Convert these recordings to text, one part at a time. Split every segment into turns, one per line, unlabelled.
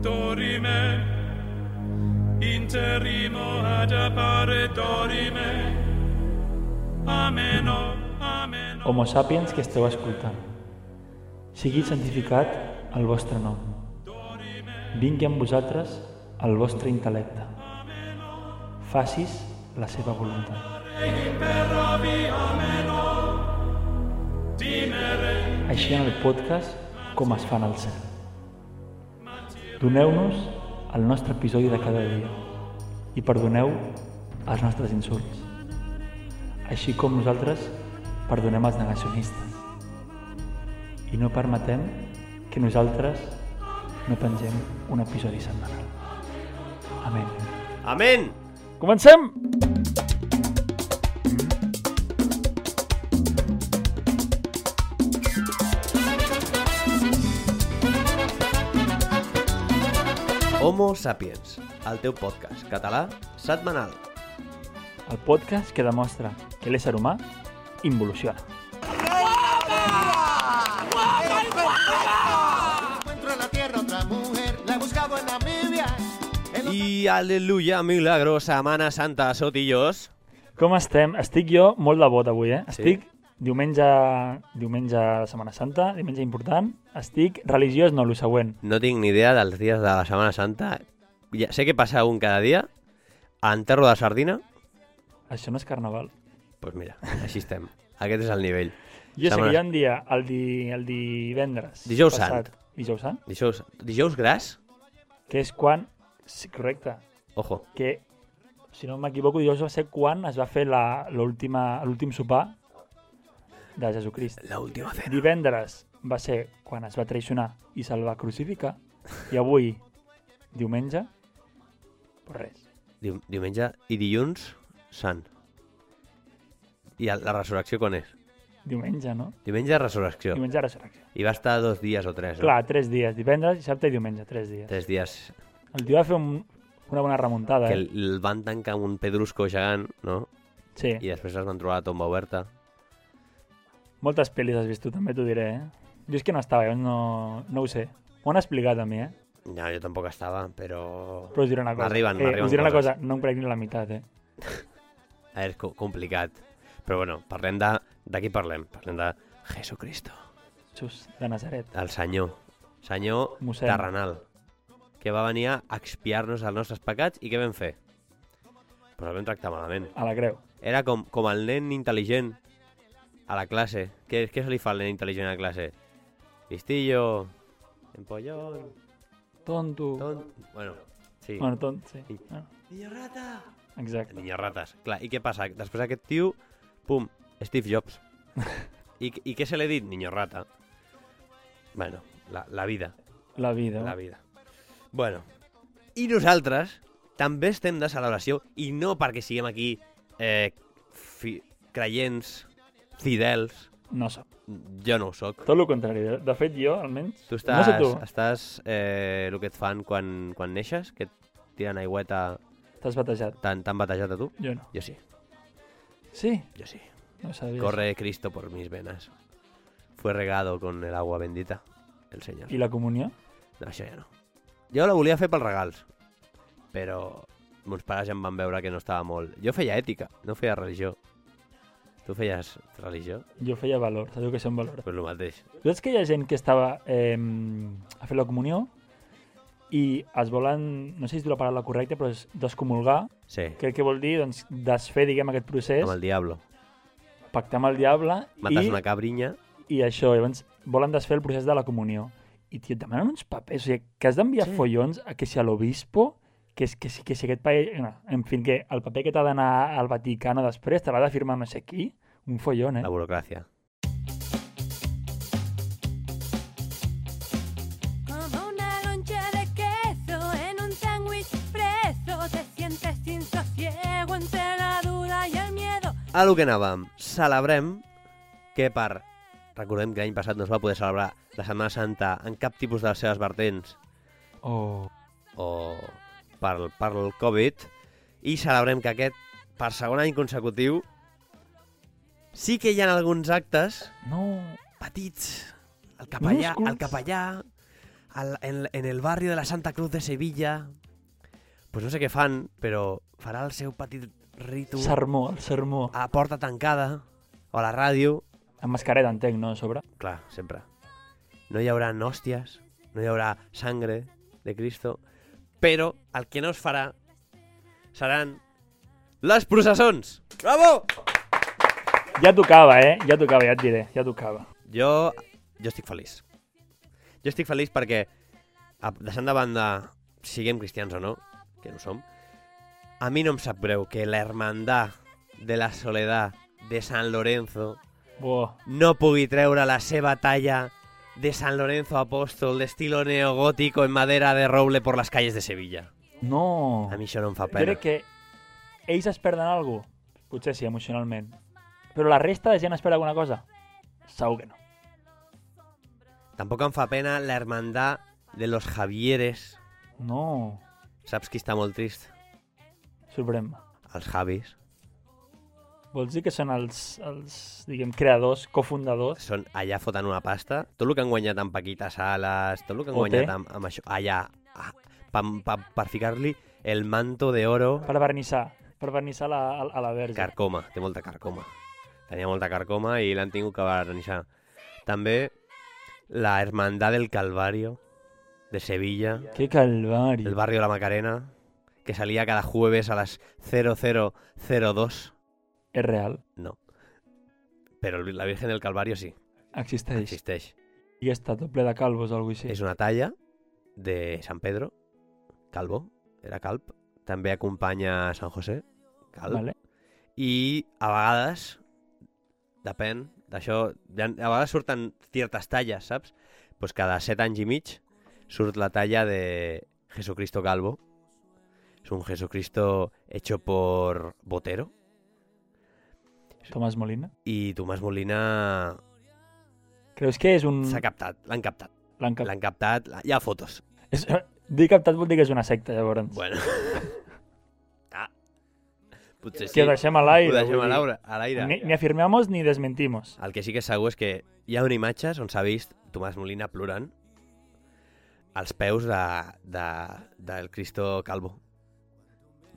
dorime, interimo ad appare dorime. Ameno, ameno.
Homo sapiens que esteu escoltant, sigui santificat el vostre nom. Vingui amb vosaltres el vostre intel·lecte. Facis la seva voluntat.
Imperavi ameno, dimere,
Així en el podcast com es fan al cel. Doneu-nos el nostre episodi de cada dia i perdoneu els nostres insults, així com nosaltres perdonem els negacionistes. I no permetem que nosaltres no pengem un episodi setmanal. Amén.
Amén.
Comencem!
Homo Sapiens, el teu podcast català setmanal.
El podcast que demostra que l'ésser humà involuciona.
Encuentro en la tierra otra mujer, la he buscado en Namibia. En los-
I aleluia, milagro, Setmana Santa, sotillos.
Com estem? Estic jo molt de bot avui, eh? Estic diumenge, diumenge de Setmana Santa, diumenge important. Estic religiós, no, el següent.
No tinc ni idea dels dies de la Setmana Santa. Ja, sé que passa un cada dia. A enterro de sardina,
Això no és carnaval.
doncs pues mira, així estem. Aquest és el nivell.
Jo sé
Setmana-
que hi ha un dia, el, di, el divendres.
Dijous Sant.
Dijous Sant,
Dijous, dijous gras?
que és quan... Sí, correcte.
Ojo.
Que, si no m'equivoco, dijous va ser quan es va fer la- l'última- l'últim sopar de Jesucrist.
La última cena.
Divendres va ser quan es va traicionar i se'l va crucificar. I avui, diumenge, pues res.
Diu- Diumenge i dilluns, sant. I el- la resurrecció quan és?
Diumenge, no?
Diumenge, resurrecció.
Diumenge a resurrecció.
I va estar dos dies o tres, no?
Clar, tres dies. Divendres, dissabte i diumenge, tres dies.
Tres dies.
El tio va fer un, una bona remuntada,
Que
eh?
el, el van tancar amb un pedrusco gegant, no?
Sí.
I després es van trobar a la tomba oberta.
Moltes pel·lis has vist tu, també t'ho diré, eh? Jo és que no estava, llavors no, no ho sé. M'ho han explicat a mi, eh?
No, jo tampoc estava, però...
Però us diré una cosa.
M'arriben,
eh,
m'arriben
Us diré una
coses.
cosa, no em crec ni la meitat, eh?
A veure, és co- complicat. Però bueno, parlem de... De qui parlem? Parlem de Jesucristo.
Xus, de Nazaret.
El senyor. Senyor
Mossèn.
terrenal. Que va venir a expiar-nos els nostres pecats i què vam fer? Però el vam tractar malament.
A la creu.
Era com, com el nen intel·ligent a la classe. Què, què se li fa al nen intel·ligent a la classe? Pistillo, empollón...
Tonto.
Ton... Bueno, sí.
Bueno, tonto, sí.
Sí.
Bueno,
Niño rata.
exacte.
Niño rates. Clar, i què passa? Després aquest tio, pum, Steve Jobs. I, I què se li ha dit? Niño rata. Bueno, la, la vida,
La vida.
la vida. Bueno, i nosaltres també estem de celebració i no perquè siguem aquí eh, fi, creients, fidels,
No sé.
jo no ho sóc.
Tot el contrari. De, de fet, jo, almenys...
Tu
No
estàs,
sé tu.
estàs eh, el que et fan quan, quan neixes, que et tiren aigüeta,
Estàs batejat.
t'han t'han batejat a tu?
Jo no.
Jo sí,
Sí?
yo sí.
No ho sabies.
Corre Cristo por mis venas. Fue regado con el agua bendita, el Señor.
I la comunió?
No, això ja no. Jo la volia fer pels regals, però mons pares ja em van veure que no estava molt... Jo feia ètica, no feia religió. Tu feies religió?
Jo feia valor, sabeu que són valor.
Pues el mateix.
Tu saps que hi ha gent que estava eh, a fer la comunió i es volen, no sé si és la paraula correcta, però és descomulgar.
Sí,
Crec que vol dir doncs, desfer, diguem, aquest procés,
amb el diablo.
pactar amb el diable
Mates
i,
una cabrinya,
i això. Llavors volen desfer el procés de la comunió. I tio, et demanen uns papers, o sigui, que has d'enviar
Sí.
sí. follons a que si a l'obispo, que, si- que, si, que si aquest país... No, en fi, que el paper que t'ha d'anar al Vaticano després te l'ha de firmar no sé qui, un follon, eh?
la burocràcia.
Como una loncha de queso en un sándwich preso, te sientes sin sosiego entre la duda y el miedo.
A lo que anàvem, celebrem que per... Recordem que l'any passat no es va poder celebrar la Setmana Santa en cap tipus de les seves vertents
Oh.
o per, per el Covid i celebrem que aquest, per segon any consecutiu, sí que hi ha alguns actes
No.
petits. El capellà,
Minúsculs.
el capellà al- en, en el barrio de la Santa Cruz de Sevilla. Pues no sé què fan, però farà el seu petit ritu
Sermó, el sermó.
a porta tancada o a la ràdio.
Amb mascareta, entenc, no? A sobre.
Clar, sempre. No hi haurà hòsties, no hi haurà sangre de Cristo, però el que no es farà seran les processons. Bravo!
Ja tocava, eh? Ja tocava, ja et diré. Ja tocava.
Jo, jo estic feliç. Jo estic feliç perquè, a- deixant de banda, siguem cristians o no, que no som, a mi no em sap greu que la hermandad de la soledad de San Lorenzo
Buah.
no pugui treure la seva talla de San Lorenzo Apóstol d'estilo neogòtico en madera de roble por las calles de Sevilla.
No.
A mi això no em fa
Jo
pena.
crec que ells es perden alguna cosa. Potser sí, emocionalment. Però la resta de gent espera alguna cosa? Segur que no.
Tampoc em fa pena la hermandad de los Javieres.
No.
Saps qui està molt trist?
Sorprèn-me.
Els Javis.
Vols dir que són els, els diguem, creadors, cofundadors?
són allà fotent una pasta. Tot el que han guanyat amb Paquita Sales, tot el que han
OT.
guanyat amb, amb això, allà, ah, pa, pa, per ficar-li el manto d'oro
Per vernissar. Per vernissar la, a, a la verge.
carcoma, té molta carcoma. Tenia molta carcoma i l'han tingut que barrejar. També la Hermandad del Calvario de Sevilla,
Que calvari.
el barrio de la Macarena, que salía cada jueves a las 0002,
És real.
però la Virgen del Calvario sí,
Existeix.
existeix.
I està tot ple de calvos o alguna cosa així.
És una talla de San Pedro, Calvo, era Calp. També acompanya San José, Calp.
Vale.
I a vegades, depèn d'això, ja- a vegades surten ciertes talles, saps? Pues cada set anys i mig surt la talla de Jesucristo Calvo. És un Jesucristo hecho por Botero.
Tomàs Molina.
I Tomàs Molina
Creus que és un...
s'ha captat, l'han captat.
L'han Mm. cap...
L'han captat, la- hi ha fotos.
És... Dir captat vol dir que és una secta, llavors.
Bueno. ah. Potser sí.
Que ho deixem a l'aire.
Ho deixem
vull
a Ah,
dir.
l'aire. A l'aire.
Ni, ni afirmamos ni desmentimos.
El que sí que és segur és que hi ha una imatge on s'ha vist Tomàs Molina plorant als peus de, de, del Cristo Calvo.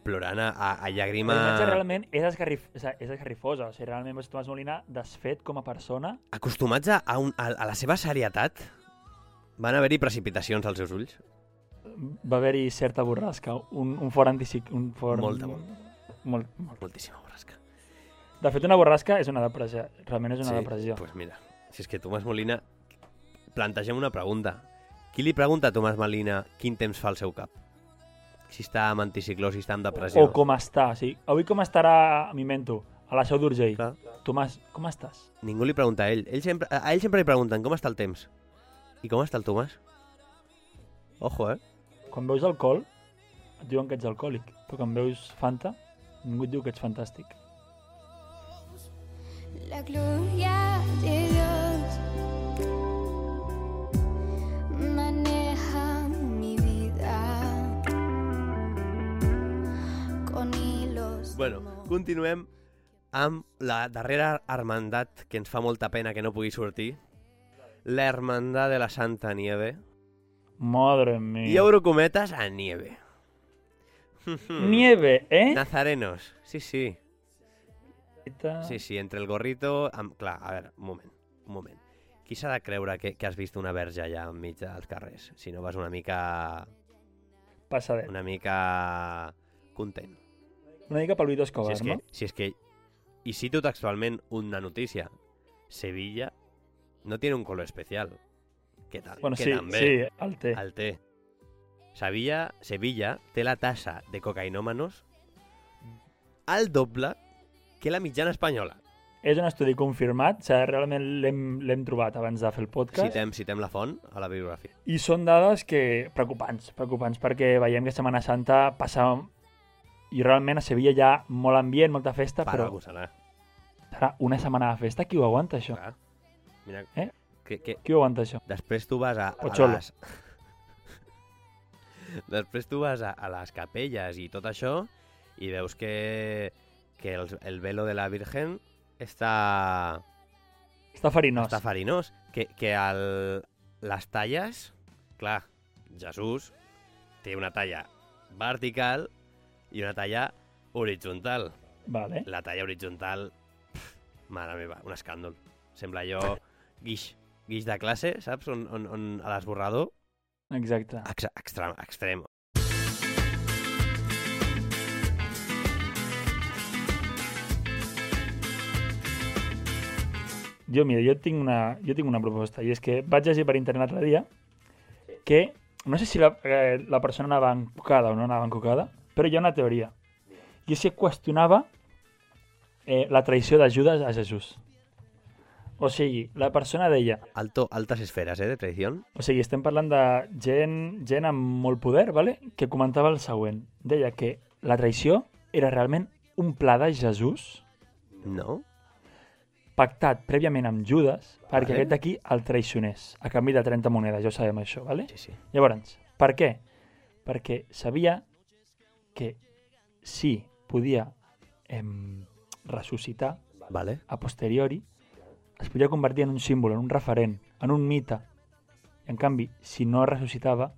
Plorant a, a,
La
a llàgrima
imatge realment és, esgarrif... o sigui, és esgarrifosa. O sigui, realment veus Tomàs Molina desfet com a persona.
acostumats a, a, un, a, a la seva serietat van haver-hi precipitacions als seus ulls.
Va haver-hi certa borrasca, un, un fort anticic... Un fort...
Molta, molta.
Molt, molt.
Moltíssima borrasca.
De fet, una borrasca és una depressió. Realment és una depressió.
Pues mira, si és que Tomàs Molina... Plantegem una pregunta. Qui li pregunta a Tomàs Molina quin temps fa el seu cap? Si està amb anticicló, si està amb depressió.
O com està. O sigui, avui com estarà, m'invento, a la seu d'Urgell.
Clar.
Tomàs, com estàs?
Ningú li pregunta a ell. ell sempre, a ell sempre li pregunten com està el temps. I com està el Tomàs? Ojo, eh?
Quan veus alcohol, et diuen que ets alcohòlic. Però quan veus Fanta, ningú et diu que ets fantàstic.
La gloria de Dios maneja mi vida con hilos.
Bueno, continuem amb la darrera hermandat que ens fa molta pena que no pugui sortir. La hermandad de la Santa Nieve.
Madre mía.
I obro cometes a Nieve.
Nieve, ¿eh?
Nazarenos. Sí, sí.
Ah.
Sí, sí, entre el gorrito... Amb... Clar, a veure, un moment, un moment. Qui s'ha de creure que, que has vist una verge allà enmig dels carrers? Si no vas una mica...
Pasadet.
una mica... content.
Una mica Pablito Escobar,
si és que,
no?
si és que... I cito textualment una notícia. Sevilla no tiene un color especial. Que, ta
Bueno,
que
sí,
també
sí, eh. el té.
el té. Sevilla, Sevilla té la tassa de cocainòmanos al doble que la mitjana espanyola.
És un estudi confirmat, o sigui, realment l'hem l'hem trobat abans de fer el podcast.
Citem, citem la font a la bibliografia.
I són dades que preocupants, preocupants, perquè veiem que Setmana Santa passa... I realment a Sevilla hi ha molt ambient, molta festa,
Para
però
algú serà.
serà una setmana de festa. Qui ho aguanta, això?
Clar. Mira,
Eh?
que, que,
Qui ho aguanta, això?
Després tu vas a,
O
a
xolo.
les... Després tu vas a, a les capelles i tot això i veus que, que el, el velo de la Virgen està,
Està farinós.
està farinós, que, que el, les talles, clar, Jesús té una talla vertical i una talla horitzontal.
Vale.
La talla horitzontal, pf, mare meva, un escàndol. Sembla jo guix, guix de classe, saps? On, on, on a l'esborrador,
Exacte.
Ex extrem, extrem.
Jo, mira, jo tinc una, jo tinc una proposta, i és que vaig llegir per internet l'altre dia que, no sé si la, eh, la persona anava encocada o no anava encocada, però hi ha una teoria. I és que qüestionava eh, la traïció de Judas a Jesús. O sigui, la persona deia,
Alto, altas esferas, eh, de traición.
o sigui, estem parlant de gent, gent amb molt poder, vale? que comentava el següent. Deia que la traïció era realment un pla de Jesús
No?
pactat prèviament amb Judas perquè
Vale.
aquest d'aquí el traicionés a canvi de 30 monedes, ja ho sabem això, vale?
Sí, sí.
Llavors, per què? Perquè sabia que si podia em, ressuscitar
Vale.
a posteriori, es podia convertir en un símbol, en un referent, en un mite. I en canvi, si no ressuscitava,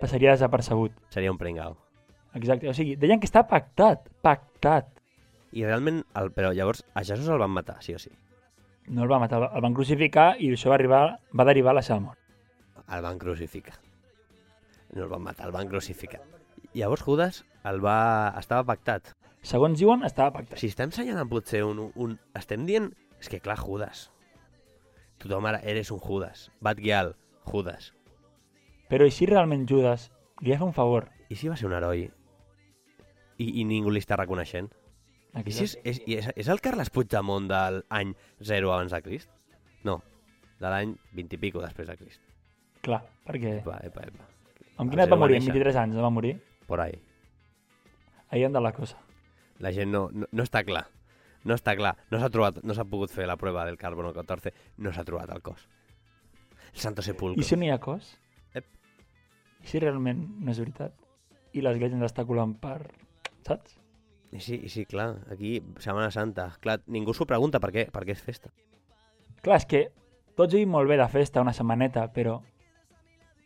passaria desapercebut.
Seria un pringao.
Exacte. O sigui, deien que està pactat, pactat.
I realment, el, però llavors, a Jesús el van matar, sí o sí.
No el va matar, el van crucificar i això va, arribar, va derivar a la seva mort.
El van crucificar. No el van matar, el van crucificar. Llavors Judas el va... estava pactat.
Segons diuen, estava pactat.
Si estem senyalant potser un, un... Estem dient... És que clar, Judas. Tothom ara eres un Judas. Bat Gial, Judas.
Però i si realment Judas li ha fet un favor?
I si va ser un heroi? I, i ningú li està reconeixent? I si és, és, i és, és el Carles Puigdemont de l'any 0 abans de Crist? No, de l'any 20 i pico després de Crist.
Clar, perquè...
Epa, epa, epa.
Amb quina
el
edat va
zero
morir?
va
Amb
néixer.
23 anys no va morir?
Por ahí.
Ahir anda la cosa.
La gent no, no, no està clar. No està clar. No s'ha trobat, no s'ha pogut fer la prova del carbono 14. No s'ha trobat el cos. El Santo Sepulcro.
I si no hi ha cos?
Ep.
I si realment no és veritat? I l'església ens està colant per... Saps?
I sí, i sí, clar, aquí, Setmana Santa. Clar, ningú s'ho pregunta per què, per què és festa.
Clar, és que tots vivim molt bé de festa una setmaneta, però...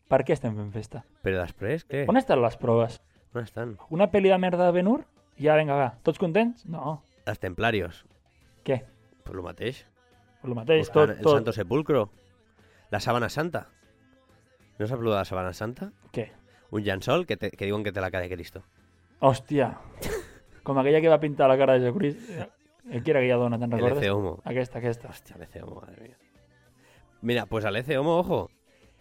Per què estem fent festa?
Però després, què?
On estan les proves?
On estan?
Una pel·li de merda de Ben-Hur? Ja, vinga, va. Tots contents? No.
Els templarios.
Què?
Per lo mateix.
Pues lo mateix,
Buscant
tot,
el
tot.
Santo Sepulcro. La Sabana Santa. No saps lo de la Sabana Santa?
Què?
Un llençol que, te, que diuen que té la cara de Cristo.
Hòstia. Com aquella que va pintar la cara de Jesucrist. Eh, Qui era aquella dona, te'n
El
recordes?
Ece Homo.
Aquesta, aquesta.
Hòstia, el Ece Homo, madre mía. Mira, pues al Ece Homo, ojo.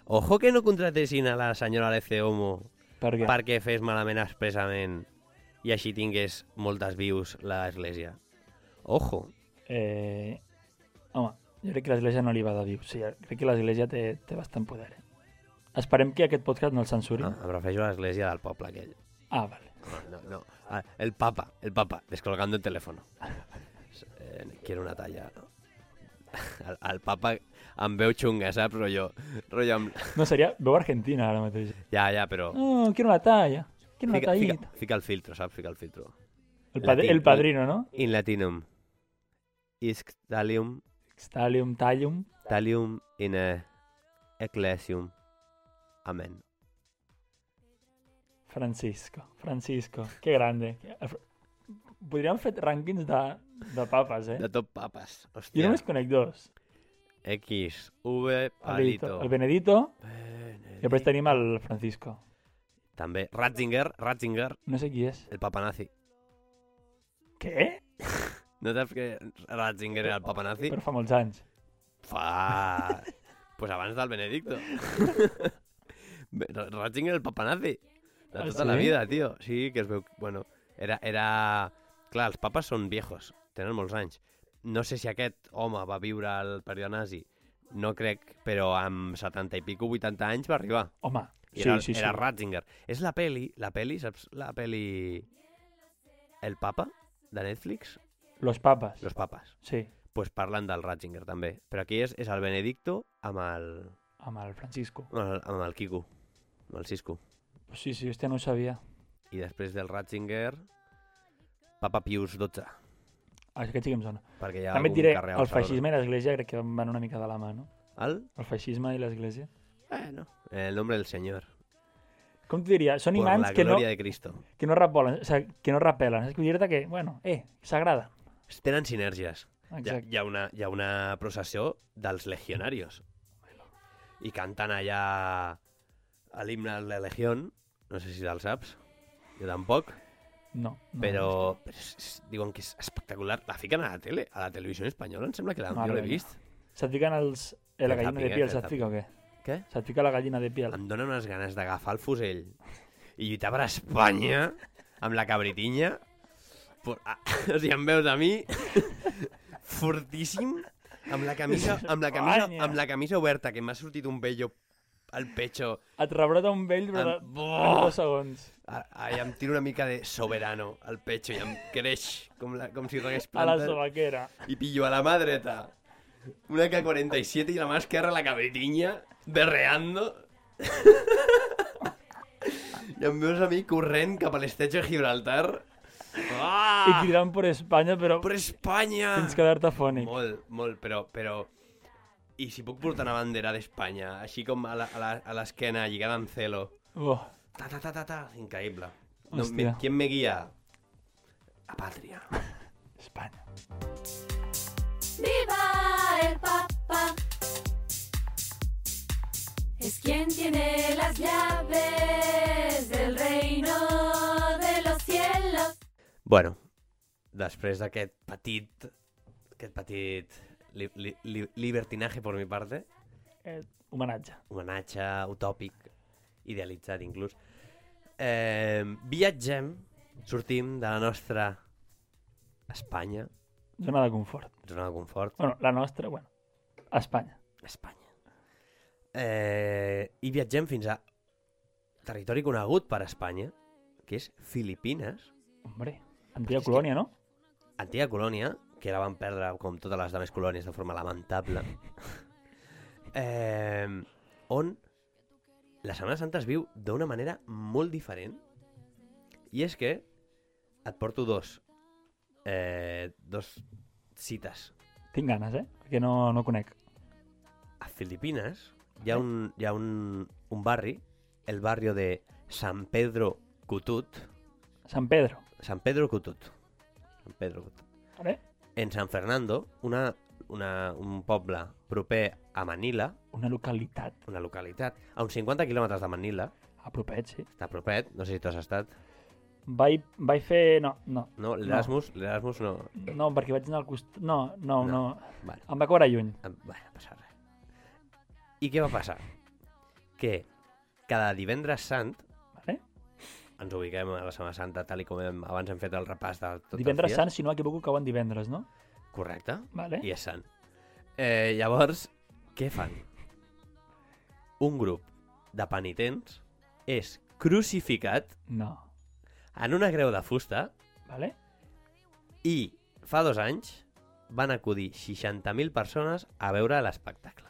Ojo que no contratessin a la senyora Ece Homo
Per què?
perquè fes malament expressament i així tingués moltes vius l'església. Ojo.
Eh, home, jo crec que l'església no li va de viu. Sí, crec que l'església té, té bastant poder. Eh? Esperem que aquest podcast no el censuri.
Ah,
Ah,
em refereixo a l'església del poble aquell.
ah vale.
No, no. Ah, El papa, el papa, descolgando el teléfono. Eh, quiero una talla. no? Al, al papa amb veu xunga, saps? Rollo, rollo amb...
No, seria veu argentina ara mateix.
Ja, ja, però...
No, quiero una talla. Quiero una
Fica, fica,
tallita.
fica el filtro, saps? Fica el filtro.
El, pad
latín,
el padrino, no?
In latinum. Isc talium,
Stalium, talium.
talium in eh, ecclesium. Amen.
Francisco, Francisco. Que grande. Podríem fer rànquings de, de papes, eh?
De tot papes.
Jo
Hòstia.
només conec dos.
X, V,
El, Benedito-
palito.
el Benedito i
Benedicto.
després tenim el Francisco.
També. Ratzinger, Ratzinger,
No sé qui és.
el papa nazi.
Què?
No saps que Ratzinger era el papa nazi?
Però fa molts anys.
Fa... pues abans del Benedicto. Be- Ra- Ratzinger el papa nazi. De
Ah,
tota la
sí?
vida, tio. Sí, que es veu... Bueno, era... era... Clar, els papes són viejos, tenen molts anys. No sé si aquest home va viure al període nazi, no crec, però amb 70 i pico, 80 anys va arribar.
Home,
I
sí,
era,
sí, sí.
era Ratzinger. És la peli, la peli, saps? La peli... El papa, de Netflix?
Los papes.
Los papas.
Sí,
pues parlen del Ratzinger també. Però aquí és, és el Benedicto amb el,
amb el Francisco.
amb el, amb el Quico, amb el Cisco.
Pues sí, sí, hòstia, no ho sabia.
I després del Ratzinger, Papa Pius XII.
Ah, Aquest sí que em sona.
Perquè hi ha
També et
algun
diré,
carrer
el
a Barcelona.
feixisme i l'església crec que van una mica de la mà, no?
El?
El feixisme i l'església.
Bueno. En el nombre del senyor.
Com t'ho diria? Són
por
imants
la
que no,
gloria de Cristo.
que no repolen, o sigui, que no repelen. És dir-te que, bueno, eh, s'agrada.
Tenen sinergies. Hi ha,
Exacte.
hi, ha una, hi ha una processió dels legionarios. I canten allà a l'himne de la legió. No sé si te'l saps. Jo tampoc.
No. no
Però, però és, és, diuen que és espectacular. La fiquen a la tele, a la televisió espanyola, em sembla que la,
Mare
jo l'he
meva.
vist.
Se't fiquen els... Eh, la
Que
gallina de
sàpiga,
piel,
que
se't
sàpiga.
fica o què?
Què?
Se't fica la gallina de piel.
Em dóna unes ganes d'agafar el fusell i lluitar per Espanya amb la cabritinya. Por... Ah, o sigui, em veus a mi fortíssim amb la camisa, amb la camisa,
Espanya.
amb la camisa oberta, que m'ha sortit un vello al pecho.
Et rebrota un vell, però
Em-
en
Buah!
dos segons.
Ah, ah, I em tiro una mica de soberano al pecho i em creix com, la, com si regués
A la
plantes.
sobaquera.
Y pillo a la madre dreta. Una K-47 y la más que arra la cabritiña, berreando. I em veus a mi corrent cap a l'esteig de Gibraltar.
I
Ah!
cridant per Espanya, però
Per Espanya!
fins quedar-te fònic.
Molt, molt, però... però... I si puc portar una bandera d'Espanya, així com a la- a la- a l'esquena, lligada amb celo.
Oh,
Ta, ta, ta, ta, ta. Increïble. No,
Hòstia.
me, em ¿Quién me guía? La pàtria.
Espanya.
¡Viva el Papa! Es quien tiene las llaves del reino de los cielos.
Bueno, després d'aquest petit aquest petit li, li, li, libertinatge per mi parte,
Eh, homenatge.
homenatge utòpic, idealitzat inclús, eh, viatgem, sortim de la nostra Espanya,
Zona de confort.
zona de confort,
Bueno, la nostra, bueno, a Espanya.
Espanya. Eh, I viatgem fins a territori conegut per Espanya, que és Filipines,
Hombre, antiga colònia, no?
antiga colònia, que la van perdre com totes les altres colònies de forma lamentable, eh, on la Setmana Santa es viu d'una manera molt diferent i és que et porto dos eh, dos cites
Tinc ganes, eh? Perquè no, no conec.
a Filipines hi ha un, hi ha un, un barri el barri de San Pedro Cutut
San Pedro.
San Pedro Cutut San Pedro Cutut
Vale?
en San Fernando, una, una, un poble proper a Manila,
Una localitat
una localitat, a uns 50 quilòmetres de Manila,
a propet, sí.
està propet, no sé si tu has estat,
Vaig, vaig fer... No, no.
no? L'Erasmus, l'Erasmus no.
No, perquè vaig anar al costat... No, no, no.
No. Vale,
Em va cobrar lluny.
em- va no passa res. I què va passar? Que cada divendres sant,
Vale?
ens ubiquem a la Setmana Santa tal i com hem, abans hem fet el repàs de tots
Divendres
els
sant,
dies.
si no m'equivoco, cauen divendres, no?
Sant. Correcte.
Vale?
i és sant. Eh, llavors, què fan? Un grup de penitents és crucificat
No.
en una creu de fusta
Vale?
i fa dos anys van acudir 60.000 persones a veure l'espectacle.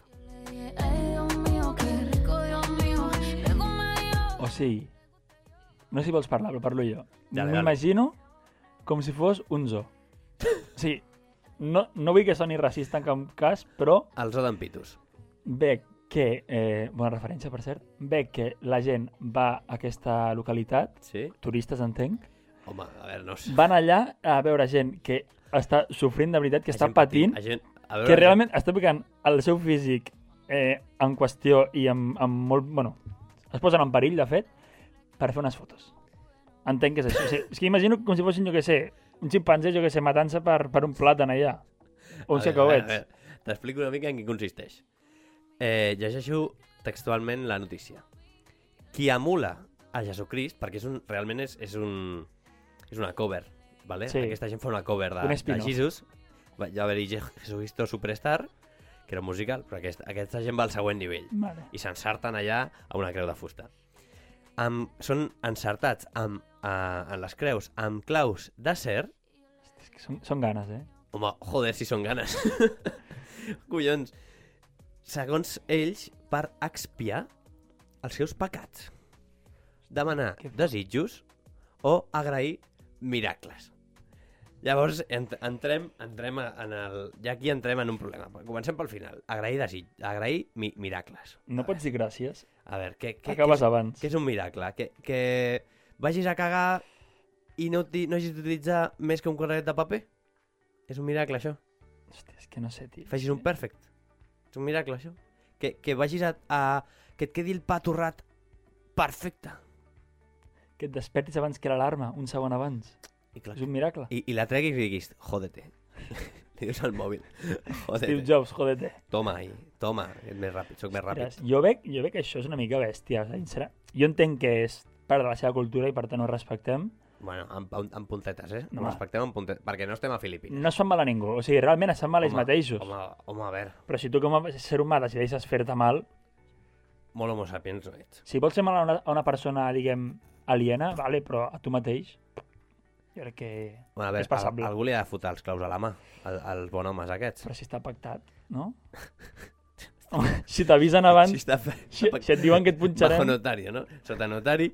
Ay, Eh, Dios mío, qué rico, Dios mío. Luego me dio-
O sigui, no sé si vols parlar, però parlo jo.
Dale, dale.
M'imagino com si fos un zoo. O sigui, no, no vull que soni racista en cap cas, però
Els Odampitus.
veig que, eh, bona referència per cert, veig que la gent va a aquesta localitat,
Sí?
turistes entenc,
Home, a veure, no ho sé.
van allà a veure gent que està sofrint de veritat, que
La
està
gent
patint,
la gent... A veure,
que realment està picant el seu físic eh, en qüestió i amb, amb molt... Bueno, es posen en perill, de fet, per fer unes fotos. Entenc que és això. O sigui, és que imagino com si fossin, jo que sé, un ximpanzé, jo que sé, matant-se per, per un plàtan allà. O un
A veure, a veure, a
cacauets.
veure, T'explico una mica en què consisteix. Eh, llegeixo textualment la notícia. Qui emula a Jesucrist, perquè és un, realment és, és, un, és una cover, vale?
Sí.
aquesta gent fa una cover de,
Un
de
spin-off.
Jesus, va, ja va haver Jesucristo Superstar, que era un musical, però aquesta, aquesta gent va al següent nivell
Vale.
i s'ensarten allà a una creu de fusta. Amb, són encertats amb, a, en les creus amb claus d'acer
És que són, són ganes, eh?
Home, joder, si són ganes. Collons. Segons ells, per expiar els seus pecats. Demanar
Que fort.
desitjos o agrair miracles. Llavors, ent entrem, entrem a- en el... Ja aquí entrem en un problema. Comencem pel final. Agrair, desig... Agrair mi miracles.
No pots dir gràcies.
A veure, què, què,
Acabes
què, és,
abans.
què és un miracle? Que, que vagis a cagar i no, uti- no hagis d'utilitzar més que un corret de paper? És un miracle, això?
Hòstia, és que no sé, tio.
Facis un perfect. És un miracle, això. Que, que vagis a, a... Que et quedi el pa torrat perfecte.
Que et despertis abans que l'alarma, un segon abans.
I, clar,
És un miracle.
Ah. i, i la treguis i diguis, jódete. Li dius al mòbil,
Steve
jódete.
Jobs, jodete.
Toma, i, toma, ets més ràpid, sóc més ràpid.
Ostres, Jo veig, jo veig que això és una mica bèstia, sincera. Jo entenc que és part de la seva cultura i per tant ho respectem.
Bueno, amb, amb, amb puntetes, eh?
No,
No,
va.
respectem amb puntetes, perquè no estem a Filipines.
No es fan mal a ningú, o sigui, realment es fan mal a ells Mm, mateixos.
Home, home, a veure,
Però si tu com a ser humà decideixes fer-te mal,
molt homo sapiens no ets.
si vols ser mal a una, a una persona, diguem, aliena, vale, però a tu mateix, jo crec que...
Bueno, a
És
veure,
passable.
al, algú li ha de fotre els claus a la mà, al, als bonhomes aquests.
Però si està pactat, no? Home, si t'avisen abans,
Si, està, fe-
si, si et diuen que et
Bajo
punxaran...
notario, ¿no? Sota notario,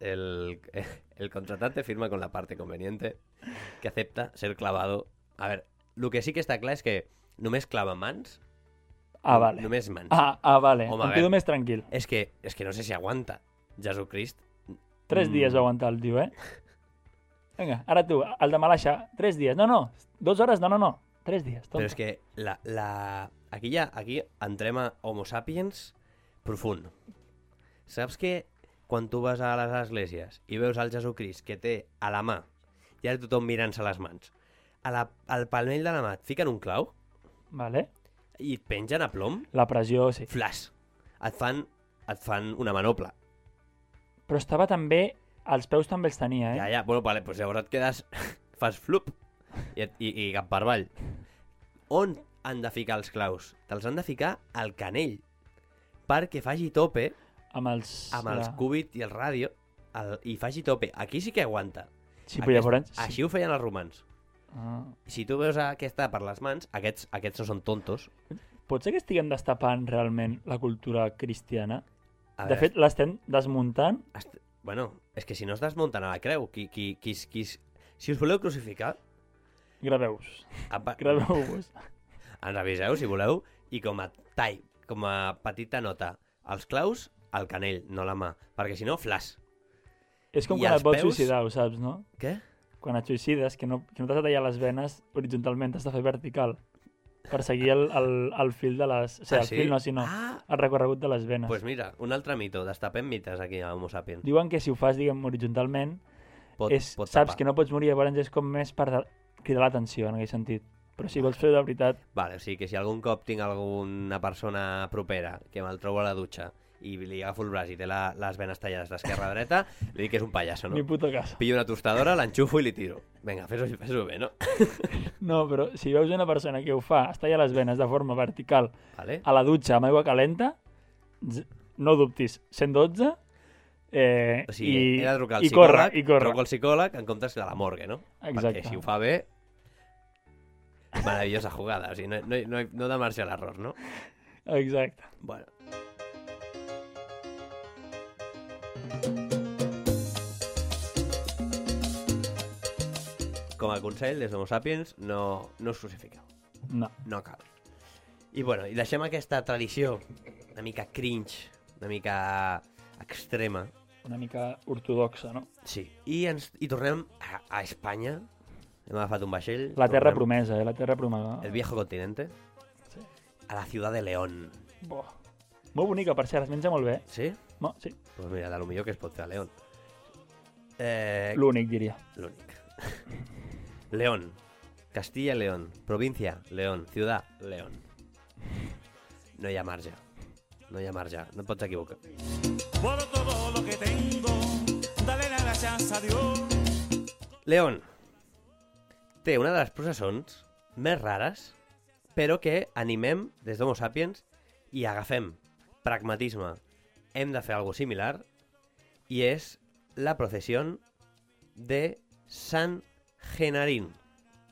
el, el contratante firma con la parte conveniente que acepta ser clavado. A ver, lo que sí que está claro es que només clava mans,
Ah, vale.
només mans.
Ah, ah vale.
Home,
Home,
a
em quedo
veure.
més tranquil.
És que, és que no sé si aguanta Jesucrist.
Tres
Mm.
dies va aguantar el tio, eh? Vinga, ara tu, el de Malasha, tres dies. No, no, dues hores, no, no, no. Tres dies, tonto.
Però és que la, la... aquí ja aquí entrem a Homo sapiens profund. Saps que quan tu vas a les esglésies i veus el Jesucrist que té a la mà, i ara tothom mirant-se les mans, a la, al palmell de la mà et fiquen un clau,
Vale?
i et pengen a plom,
La pressió, sí.
flash. Et fan, et fan una manopla.
Però estava també... Els peus també els tenia, eh?
Ja, ja, bueno, vale, doncs llavors et quedes... fas flup i, et, i, i cap per avall. On han de ficar els claus? Te'ls han de ficar al canell perquè faci tope
Amb els...
amb els
la-
cúbit i el ràdio el, i faci tope. Aquí sí que aguanta.
Sí, però llavors...
Aquest, Així ho feien els romans.
Sí. Ah.
Si tu veus aquesta per les mans, aquests, aquests no són tontos.
Pot ser que estiguem destapant realment la cultura cristiana?
A
De
veure,
fet, l'estem desmuntant.
Est- Bueno, és que si no es desmunten a la creu, qui, qui, qui, qui, qui, si us voleu crucificar,
Graveus.
apa,
Graveu-vos.
ens aviseu si voleu, i com a tall, com a petita nota, els claus al canell, no la mà, perquè si no, flash.
És com
I
quan
els
et vols
peus?
suïcidar, ho saps, no?
Què?
Quan et suïcides, que no, que no t'has de tallar les venes horitzontalment, t'has de fer vertical. Per seguir el, el, el fil de les... O sigui,
Ah,
el
sí?
fil no, sinó
Ah!
el recorregut de les venes.
Doncs pues mira, un altre mito, destapem mites aquí a Homo Sapiens.
Diuen que si ho fas, diguem, horitzontalment,
Pot,
és,
pot
saps
tapar.
que no pots morir, llavors és com més per de- cridar l'atenció, en aquell sentit. Però
Ah.
si vols fer de veritat,
Vale, o sigui que si algun cop tinc alguna persona propera que me'l trobo a la dutxa i li agafo el braç i té la, les venes tallades d'esquerra a dreta, li dic que és un pallasso,
ni
no?
puto cas.
Pillo una tostadora, l'enxufo i li tiro. Vinga, fes-ho fes bé, no?
No, però si veus una persona que ho fa, es talla les venes de forma vertical
Vale?
a la dutxa amb aigua calenta, z- no dubtis, 112, eh,
O sigui,
i,
he de trucar al
i corre,
psicòleg,
i corre.
truco al psicòleg en comptes de a la morgue, no?
Exacte.
Perquè si ho fa bé... Meravellosa jugada, o sigui, no, no, no, no de marge a l'error, no?
Exacte.
Bueno. Com a consell, des d'Homo Sapiens, no, no us crucifiqueu.
No.
No cal. I bueno, i deixem aquesta tradició una mica cringe, una mica extrema,
Una mica ortodoxa, no?
Sí, i, ens, i tornem a, a Espanya. Hem agafat un vaixell.
La terra
tornem-
promesa, eh? La terra promesa.
El viejo continente.
Sí.
A la ciudad de León.
Boh. Molt bonica, per cert, es menja molt bé.
Sí?
Mo sí,
Pues mira, de lo millor que es pot fer a León. Eh,
l'únic, diria.
L'únic. León. Castilla y León. Provincia, León. Ciudad, León. No hi ha marge. No hi ha marge. No et pots equivocar.
Por todo lo que tengo, dale la gracias a Dios.
León té una de les processons més rares, però que animem des d'Homo Sapiens i agafem pragmatisme. Hem de fer alguna similar i és la processió de Sant Genarín.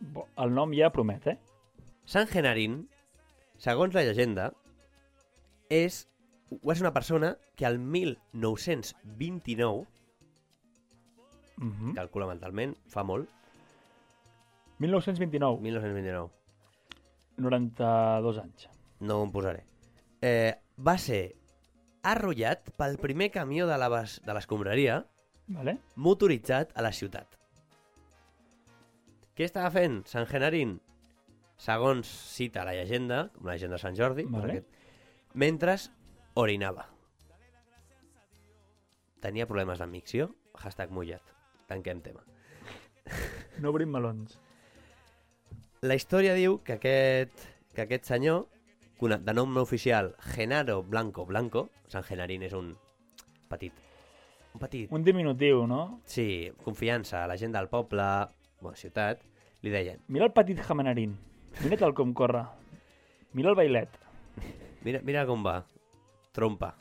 Bo, el nom ja promet, eh?
Sant Genarín, segons la llegenda, és, o és una persona que al 1929,
Mm -hmm.
Mm-hmm. calcula mentalment, fa molt,
1929,
1929.
92 anys.
No ho em posaré. Eh, va ser arrollat pel primer camió de laves de l'escombraria
Vale?
motoritzat a la ciutat. Què estava fent Sant Genarín? Segons cita la llegenda, una llegenda de Sant Jordi,
Vale.
perquè- mentre orinava. Tenia problemes d'admicció, hashtag mullat. Tanquem tema.
No obrim melons.
La història diu que aquest, que aquest senyor, cona- de nom no oficial Genaro Blanco Blanco, Sant Genarín és un petit... Un petit...
Un diminutiu, no?
Sí, confiança, la gent del poble, bona ciutat, li deien,
Mira el petit jamenarín. Mira tal com corre. Mira el bailet.
mira, mira com va, trompa,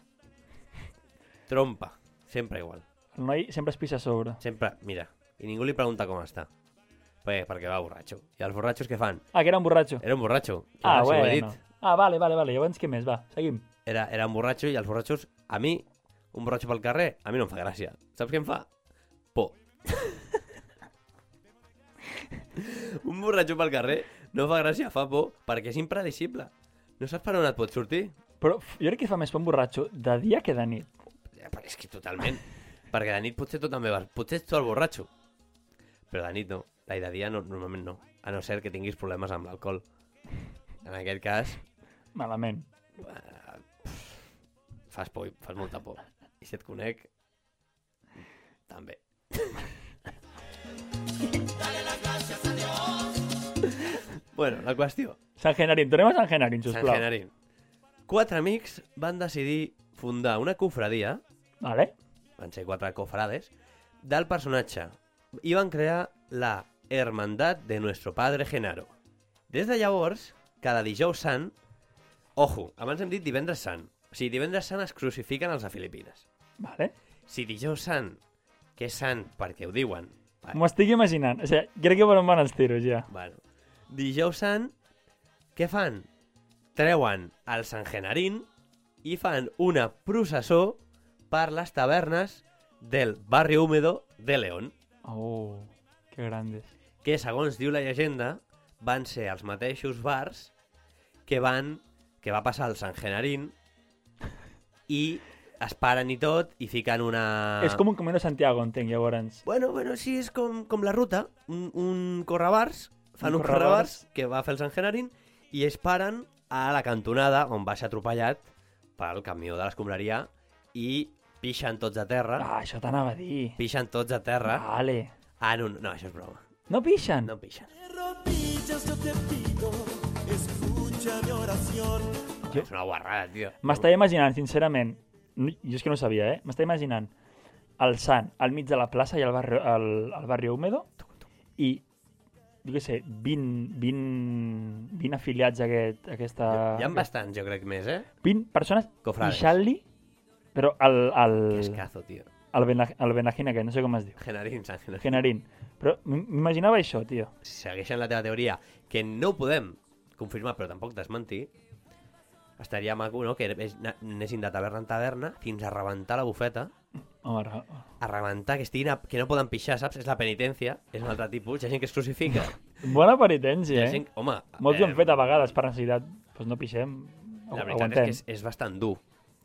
trompa, sempre igual,
El noi sempre es pisa a sobre.
sempre, mira, i ningú li pregunta com està, perquè, perquè va borratxo. I els borratxos què fan?
Ah, que era un borratxo.
Era un borratxo, clar,
Ah,
si Eh, ho he
bueno.
dit.
Ah, vale, vale, vale. Llavors què més? Va, seguim.
era, era un borratxo i els borratxos, a mi, un borratxo pel carrer, a mi no em fa gràcia. Saps què em fa? Por. un borratxo pel carrer no fa gràcia, fa por, perquè és impredicible. No saps per on et pot sortir.
Però f- jo crec que fa més por un borratxo de dia que de nit.
Eh, però És que totalment. perquè de nit potser tu també vas, potser ets tu el borratxo. Però de nit no, i de dia no, normalment no. A no ser que tinguis problemes amb l'alcohol. En aquest cas,
Malament.
fas por, i- fas molta por. I si et conec, també. bueno, la qüestió.
Sant Genarín, tornem a Sant Genarín,
Sant
sisplau.
Genarín. Quatre amics van decidir fundar una cofradia,
Vale?
van ser quatre cofrades, del personatge i van crear la Hermandad de Nuestro Padre Genaro. Des de llavors, cada dijous sant, ojo, abans hem dit divendres sant, o sigui, divendres sant es crucifiquen els de Filipines.
Vale?
Si dijous sant, que és sant perquè ho diuen, va,
M'ho estic imaginant. O sigui, crec que per on van els tiros, ja.
bueno, dijous sant, què fan? Treuen el Sant Genarín i fan una processó per les tavernes del barri húmedo de León,
Oh, que grandes.
que segons diu la llegenda van ser els mateixos bars que van que va passar el Sant Genarín i es paren i tot i fiquen una...
És com un Camino Santiago, entenc, llavors.
Bueno, bueno, sí, és com, com la ruta. Un, un correbars, fan
Un
un,
correbars.
correbars que va fer el Sant Genarín i es paren a la cantonada on va ser atropellat pel camió de l'escombraria i pixen tots a terra,
Ah, això t'anava a dir.
pixen tots a terra
Vale.
en un... No, això és broma.
No pixen?
No pixen.
Rodillas yo te pido, escucha mi oración.
Jo... És una guarrada, tio.
M'estava imaginant, sincerament, no- jo és que no ho sabia, eh? M'estava imaginant el Sant al mig de la plaça i al barri, al, al barri húmedo i, jo què sé, 20, 20, 20 afiliats a, aquest, a aquesta...
Hi ha bastants, jo crec, més, eh?
20 persones
Cofrades.
pixant-li, però al, al,
Que escazo, tio.
al, Bena- al Benajín aquest, no sé com es diu,
Genarín, Sant Genarín.
Genarín. Però m- m'imaginava això, tio.
si segueixen la teva teoria, que no ho podem confirmar, però tampoc desmentir, estaria maco, no?, que és- na- anessin de taverna en taverna fins a rebentar la bufeta,
Home, ra-
a rebentar, que, estiguin a, que no poden pixar, saps? És la penitència, és un altre tipus, hi ha gent que es crucifica.
bona
Hi
penitència,
ha
eh?
gent, home...
Molts ho han
eh,
fet a vegades per necessitat. Doncs pues no pixem,
La veritat
aguantem.
és que és, és bastant dur.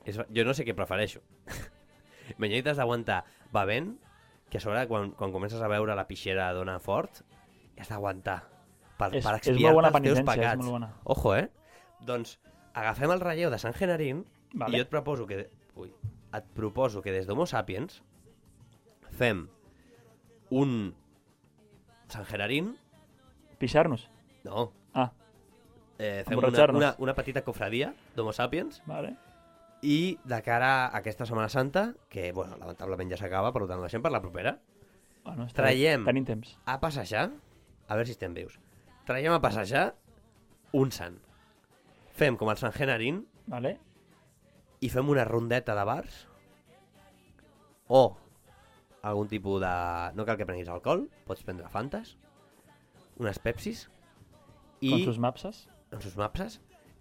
És, ba- jo no sé què prefereixo. Menyites d'aguantar bevent, que a sobre quan, quan comences a veure la pixera dona fort, has d'aguantar
És-
per, per
és molt
expiar
bona
els teus
penitència, és
pecats.
molt bona.
Ojo, eh? Doncs agafem el relleu de Sant Genarín
Vale.
i jo et proposo que... Ui, et proposo que des d'Homo Sapiens fem un Sant Genarín...
Pixar-nos.
No,
Ah,
eh, fem una,
Emborratxar-nos.
una, una petita cofradia d'Homo Sapiens
vale.
I de cara a aquesta Setmana Santa, que, bueno, lamentablement ja s'acaba, per tant, la deixem per la propera,
Bueno, està bé.
Traiem.
Tenim temps.
a passejar, a veure si estem vius, traiem a passejar un sant. Fem com el Sant Genarín
Vale.
i fem una rondeta de bars o algun tipus de... No cal que prenguis alcohol, pots prendre fantes, unes pepsis
I...
i...
Com sus mapses.
amb sus mapses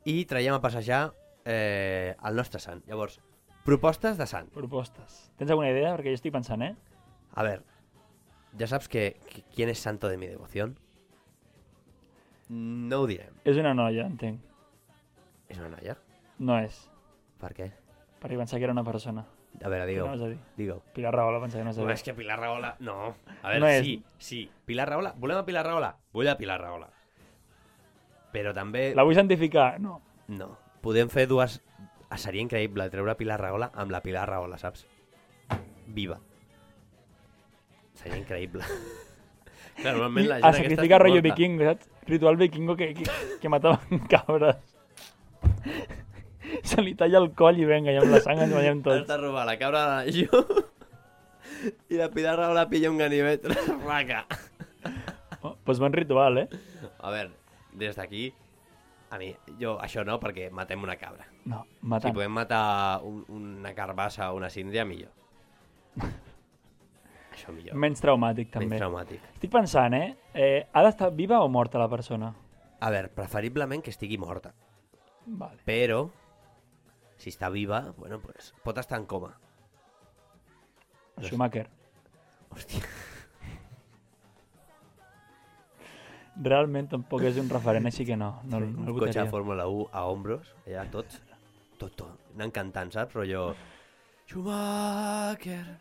i traiem a passejar eh, el nostre sant. Llavors, propostes de sant.
Propostes. Tens alguna idea? Perquè jo estic pensant, eh?
A ver, ya sabes que, que- quién es santo de mi devoción. Mm, No ho direm.
És una noia, entenc.
És una noia?
No és.
Per què?
Perquè pensava que era una persona.
A veure,
Què
digue-ho.
anaves a dir?
Digue-ho.
Pilar Rahola pensava que no
Home, és
sabia.
que Pilar Rahola... No. A veure,
No és.
sí, sí. Pilar Rahola... Volem a Pilar Rahola? Vull a Pilar Rahola. Però també...
La vull santificar? No.
No. Podem fer dues... Ah, Seria increïble treure Pilar Rahola amb la Pilar Rahola, saps? Viva. Seria increïble. Clar, normalment la gent
A
aquesta
sacrificar Ah, rotllo
morta.
viking, saps? Ritual vikingo que, que, que mataven cabres. Se li talla el coll i venga, ja amb la sang ens banyem
Has
tots.
de robar la cabra de la i la Pilar Rahola pilla un ganivet. Raca.
Doncs pues bon ritual, eh?
A veure, des d'aquí... A mi, jo això no, perquè matem una cabra.
No,
Si
matant.
podem matar un, una carbassa o una síndria, millor. Això millor.
Menys traumàtic, també.
Menys traumàtic.
Estic pensant, eh? eh? Ha d'estar viva o morta la persona?
A veure, preferiblement que estigui morta.
Vale.
Però, si està viva, bueno, pues, pot estar en coma.
Schumacher.
Doncs- Hòstia.
Realment tampoc és un referent, així que no. No, no el
un cotxe
votaria.
de Fórmula 1 a ombros, allà tots, tot, tot, anant cantant, saps? Rollo... Schumacher,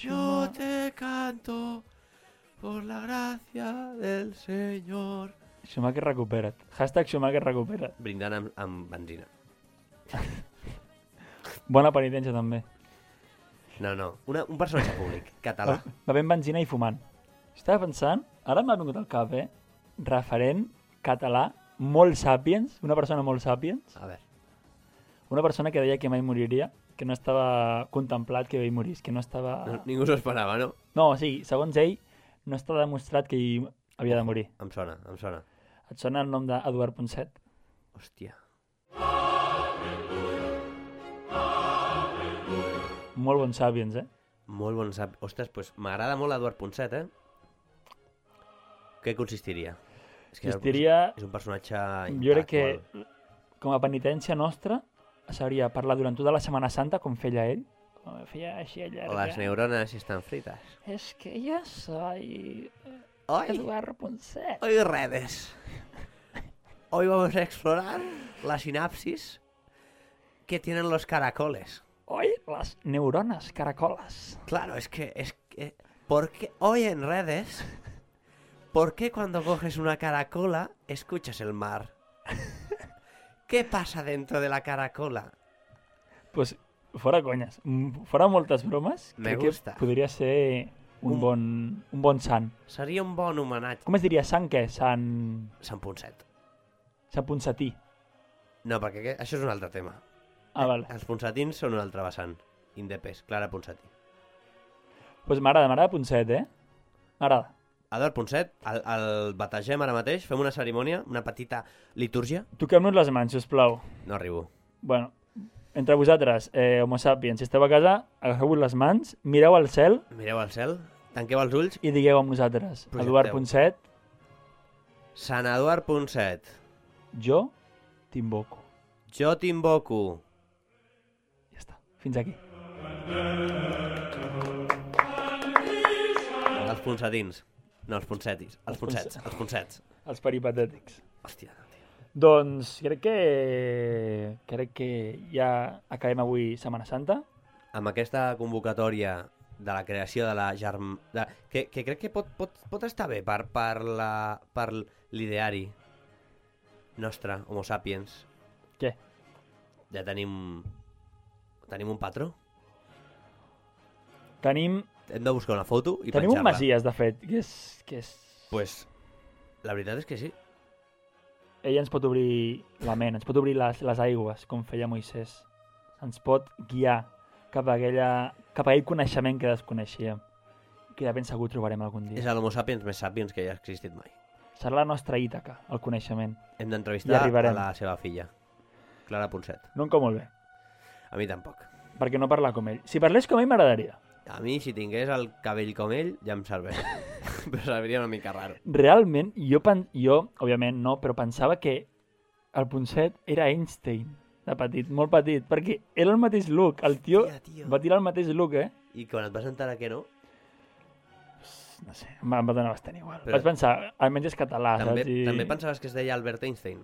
yo te canto por la gracia del Señor.
Schumacher recupera't. Hashtag Schumacher recupera't.
Brindant amb, amb benzina.
Bona penitència, també.
No, no, una, un personatge públic, català.
Va bevent benzina i fumant. Estava pensant, ara m'ha vingut al cap, eh? Referent català, molt sàpiens, una persona molt sàpiens,
A veure,
una persona que deia que mai moriria, que no estava contemplat que ell morís, que no estava...
no, ningú s'ho esperava, no?
No, o sigui, segons ell, no està demostrat que ell havia de morir.
Em sona, em sona.
Et sona el nom d'Eduard Ponset?
Hòstia.
Molt bon sàpiens, eh?
Molt bon sap. Ostres, pues, m'agrada molt Eduard Ponset, eh? Què consistiria? És Eduard
Consistiria-
Ponset És un personatge...
Jo crec que,
impactual.
com a penitència nostra, s'hauria de parlar durant tota la Setmana Santa, com feia ell. Com feia així allà.
Les neurones estan frites.
És que ja soy
Oi,
Eduard Ponset.
oi, redes. Hoy vamos a explorar la sinapsis que tienen los caracoles.
Oi, les neurones caracolas.
Claro, es que, es que, porque hoy en redes, ¿por qué cuando coges una caracola escuchas el mar? ¿Qué pasa dentro de la caracola?
Pues, fora conyes, mm, fora moltes bromes,
Me
crec
gusta.
que podria ser un,
Un-
bon, un bon sant.
Seria un bon homenatge.
Com es diria sant què? Sant...
Sant Ponset.
Sant Ponsatí.
No, perquè que- això és un altre tema.
Ah, vale.
Els Ponsatins són un altre vessant. Indepes, Clara Ponsatí.
Doncs pues m'agrada, m'agrada Ponset, eh? M'agrada.
Eduard Ponset, el, el bategem ara mateix, fem una cerimònia, una petita litúrgia.
Toquem-nos les mans, sisplau.
No arribo.
Bueno, entre vosaltres, eh, homo sapiens, si esteu a casa, agafeu-vos les mans, mireu al cel
Mireu al cel, tanqueu els ulls.
i digueu amb nosaltres.
Projecteu.
Eduard Ponset,
Sant Eduard Ponset,
jo t'invoco.
jo t'invoco.
Ja està. Fins aquí.
Els Ponsatins. No, els Ponsetis. Els Ponsets. Els Ponsets.
Els peripatètics.
Hòstia, tio.
Doncs crec que... Crec que ja acabem avui Setmana Santa.
Amb aquesta convocatòria de la creació de la germ... De... Que, que crec que pot, pot, pot estar bé per, per la... per l'ideari nostre, Homo Sapiens.
Què?
Ja tenim... Tenim un patró?
Tenim,
Hem de buscar una foto i
tenim un
penjar-la.
Masies, de fet, que és... Que és...
Pues, la veritat és que sí.
Ell ens pot obrir la ment, ens pot obrir les, les aigües, com feia Moisès. Ens pot guiar cap a, aquella, cap a aquell coneixement que desconeixíem que de ben segur trobarem algun
És
dia.
l'homo sapiens més sapiens que ja ha existit mai.
Serà la nostra Ítaca, el coneixement.
Hem
Hi
d'entrevistar a
arribarem.
la seva filla, Clara Ponset.
No em cau molt bé,
A mi tampoc.
perquè no parlar com ell. Si parlés com ell m'agradaria.
A mi, si tingués el cabell com ell, ja em serveix. Però serviria una mica raro.
realment, jo, pen... jo, òbviament no, però pensava que el Ponset era Einstein, de petit, molt petit, perquè era el mateix look, el tio
Hòstia, tio.
va tirar el mateix look, eh?
I quan et vas enterar que no,
no sé, em va, em va donar bastant igual.
Però-
Però... Vaig pensar, almenys és català, Ah,
També,
saps? I...
també pensaves que es deia Albert Einstein.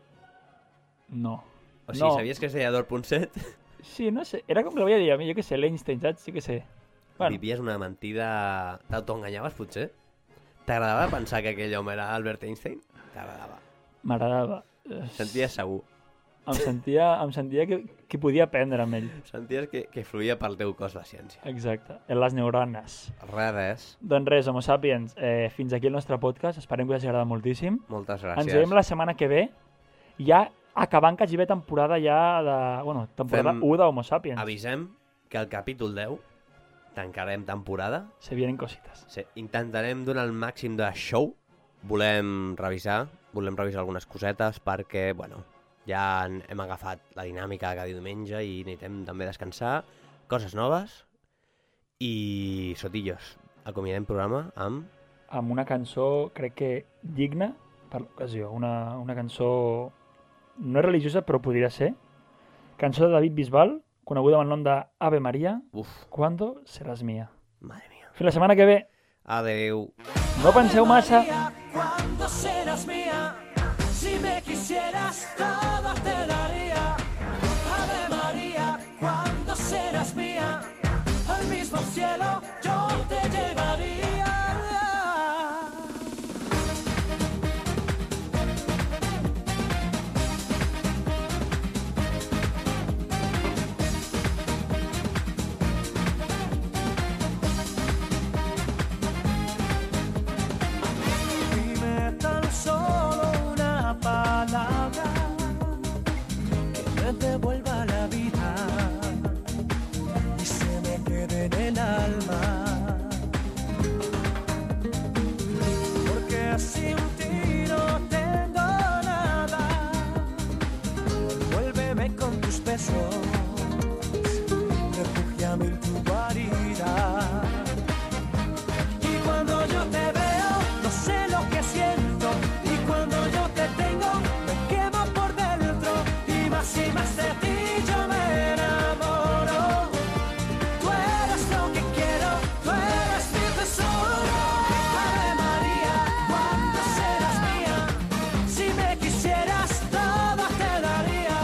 No.
O sigui,
No.
sabies que es deia 2.7?
Sí, no sé, era com que l'havia dit a mi, jo què sé, l'Einstein, saps? Sí que sé. Bueno,
Vivies una mentida... T'autoenganyaves, potser? T'agradava pensar que aquell home era Albert Einstein? T'agradava.
m'agradava.
Senties segur.
Em sentia, em sentia que, que podia aprendre amb ell.
Senties que, que fluïa pel teu cos la ciència.
Exacte, en les neurones.
Res,
Doncs res, homo sapiens, eh, fins aquí el nostre podcast. Esperem que us hagi agradat moltíssim.
moltes
Gràcies.
gràcies.
Ens veiem la setmana que ve, ja acabant quasi bé temporada ja de... Bueno, temporada
Fem-
1 d'Homo Sapiens.
Avisem que al capítol 10 tancarem temporada.
Se vienen cositas.
Sí, intentarem donar el màxim de show. Volem revisar, volem revisar algunes cosetes perquè, bueno, ja en- hem agafat la dinàmica cada diumenge i necessitem també descansar. Coses noves i sotillos. Acomiadem programa amb...
Amb una cançó, crec que digna per l'ocasió. Una, una cançó no és religiosa, però podria ser. Cançó de David Bisbal, coneguda amb el nom de Ave Maria,
Uf,
Cuando serás mía.
madre mía.
Fins la setmana que ve.
Adeu.
No penseu massa.
cuando serás mía. Si me quisieras, todas te daría. Ave María, cuando serás mía. Al mismo cielo yo te llevaría. Dime tan solo una palabra que me devuelva la vida y se me quede en el alma. Porque sin ti no tengo nada. Vuélveme con tus besos, refugiame en tu guarida. Y cuando yo te veo, no sé lo que siento. Y cuando yo te tengo, me quemo por dentro. Y más y más de ti yo me enamoro. Tú eres lo que quiero, tú eres mi tesoro. Ave María, cuando serás mía, si me quisieras, todo te daría.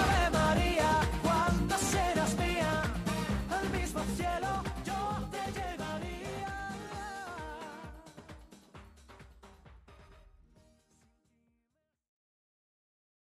Ave María, cuando serás mía, al mismo cielo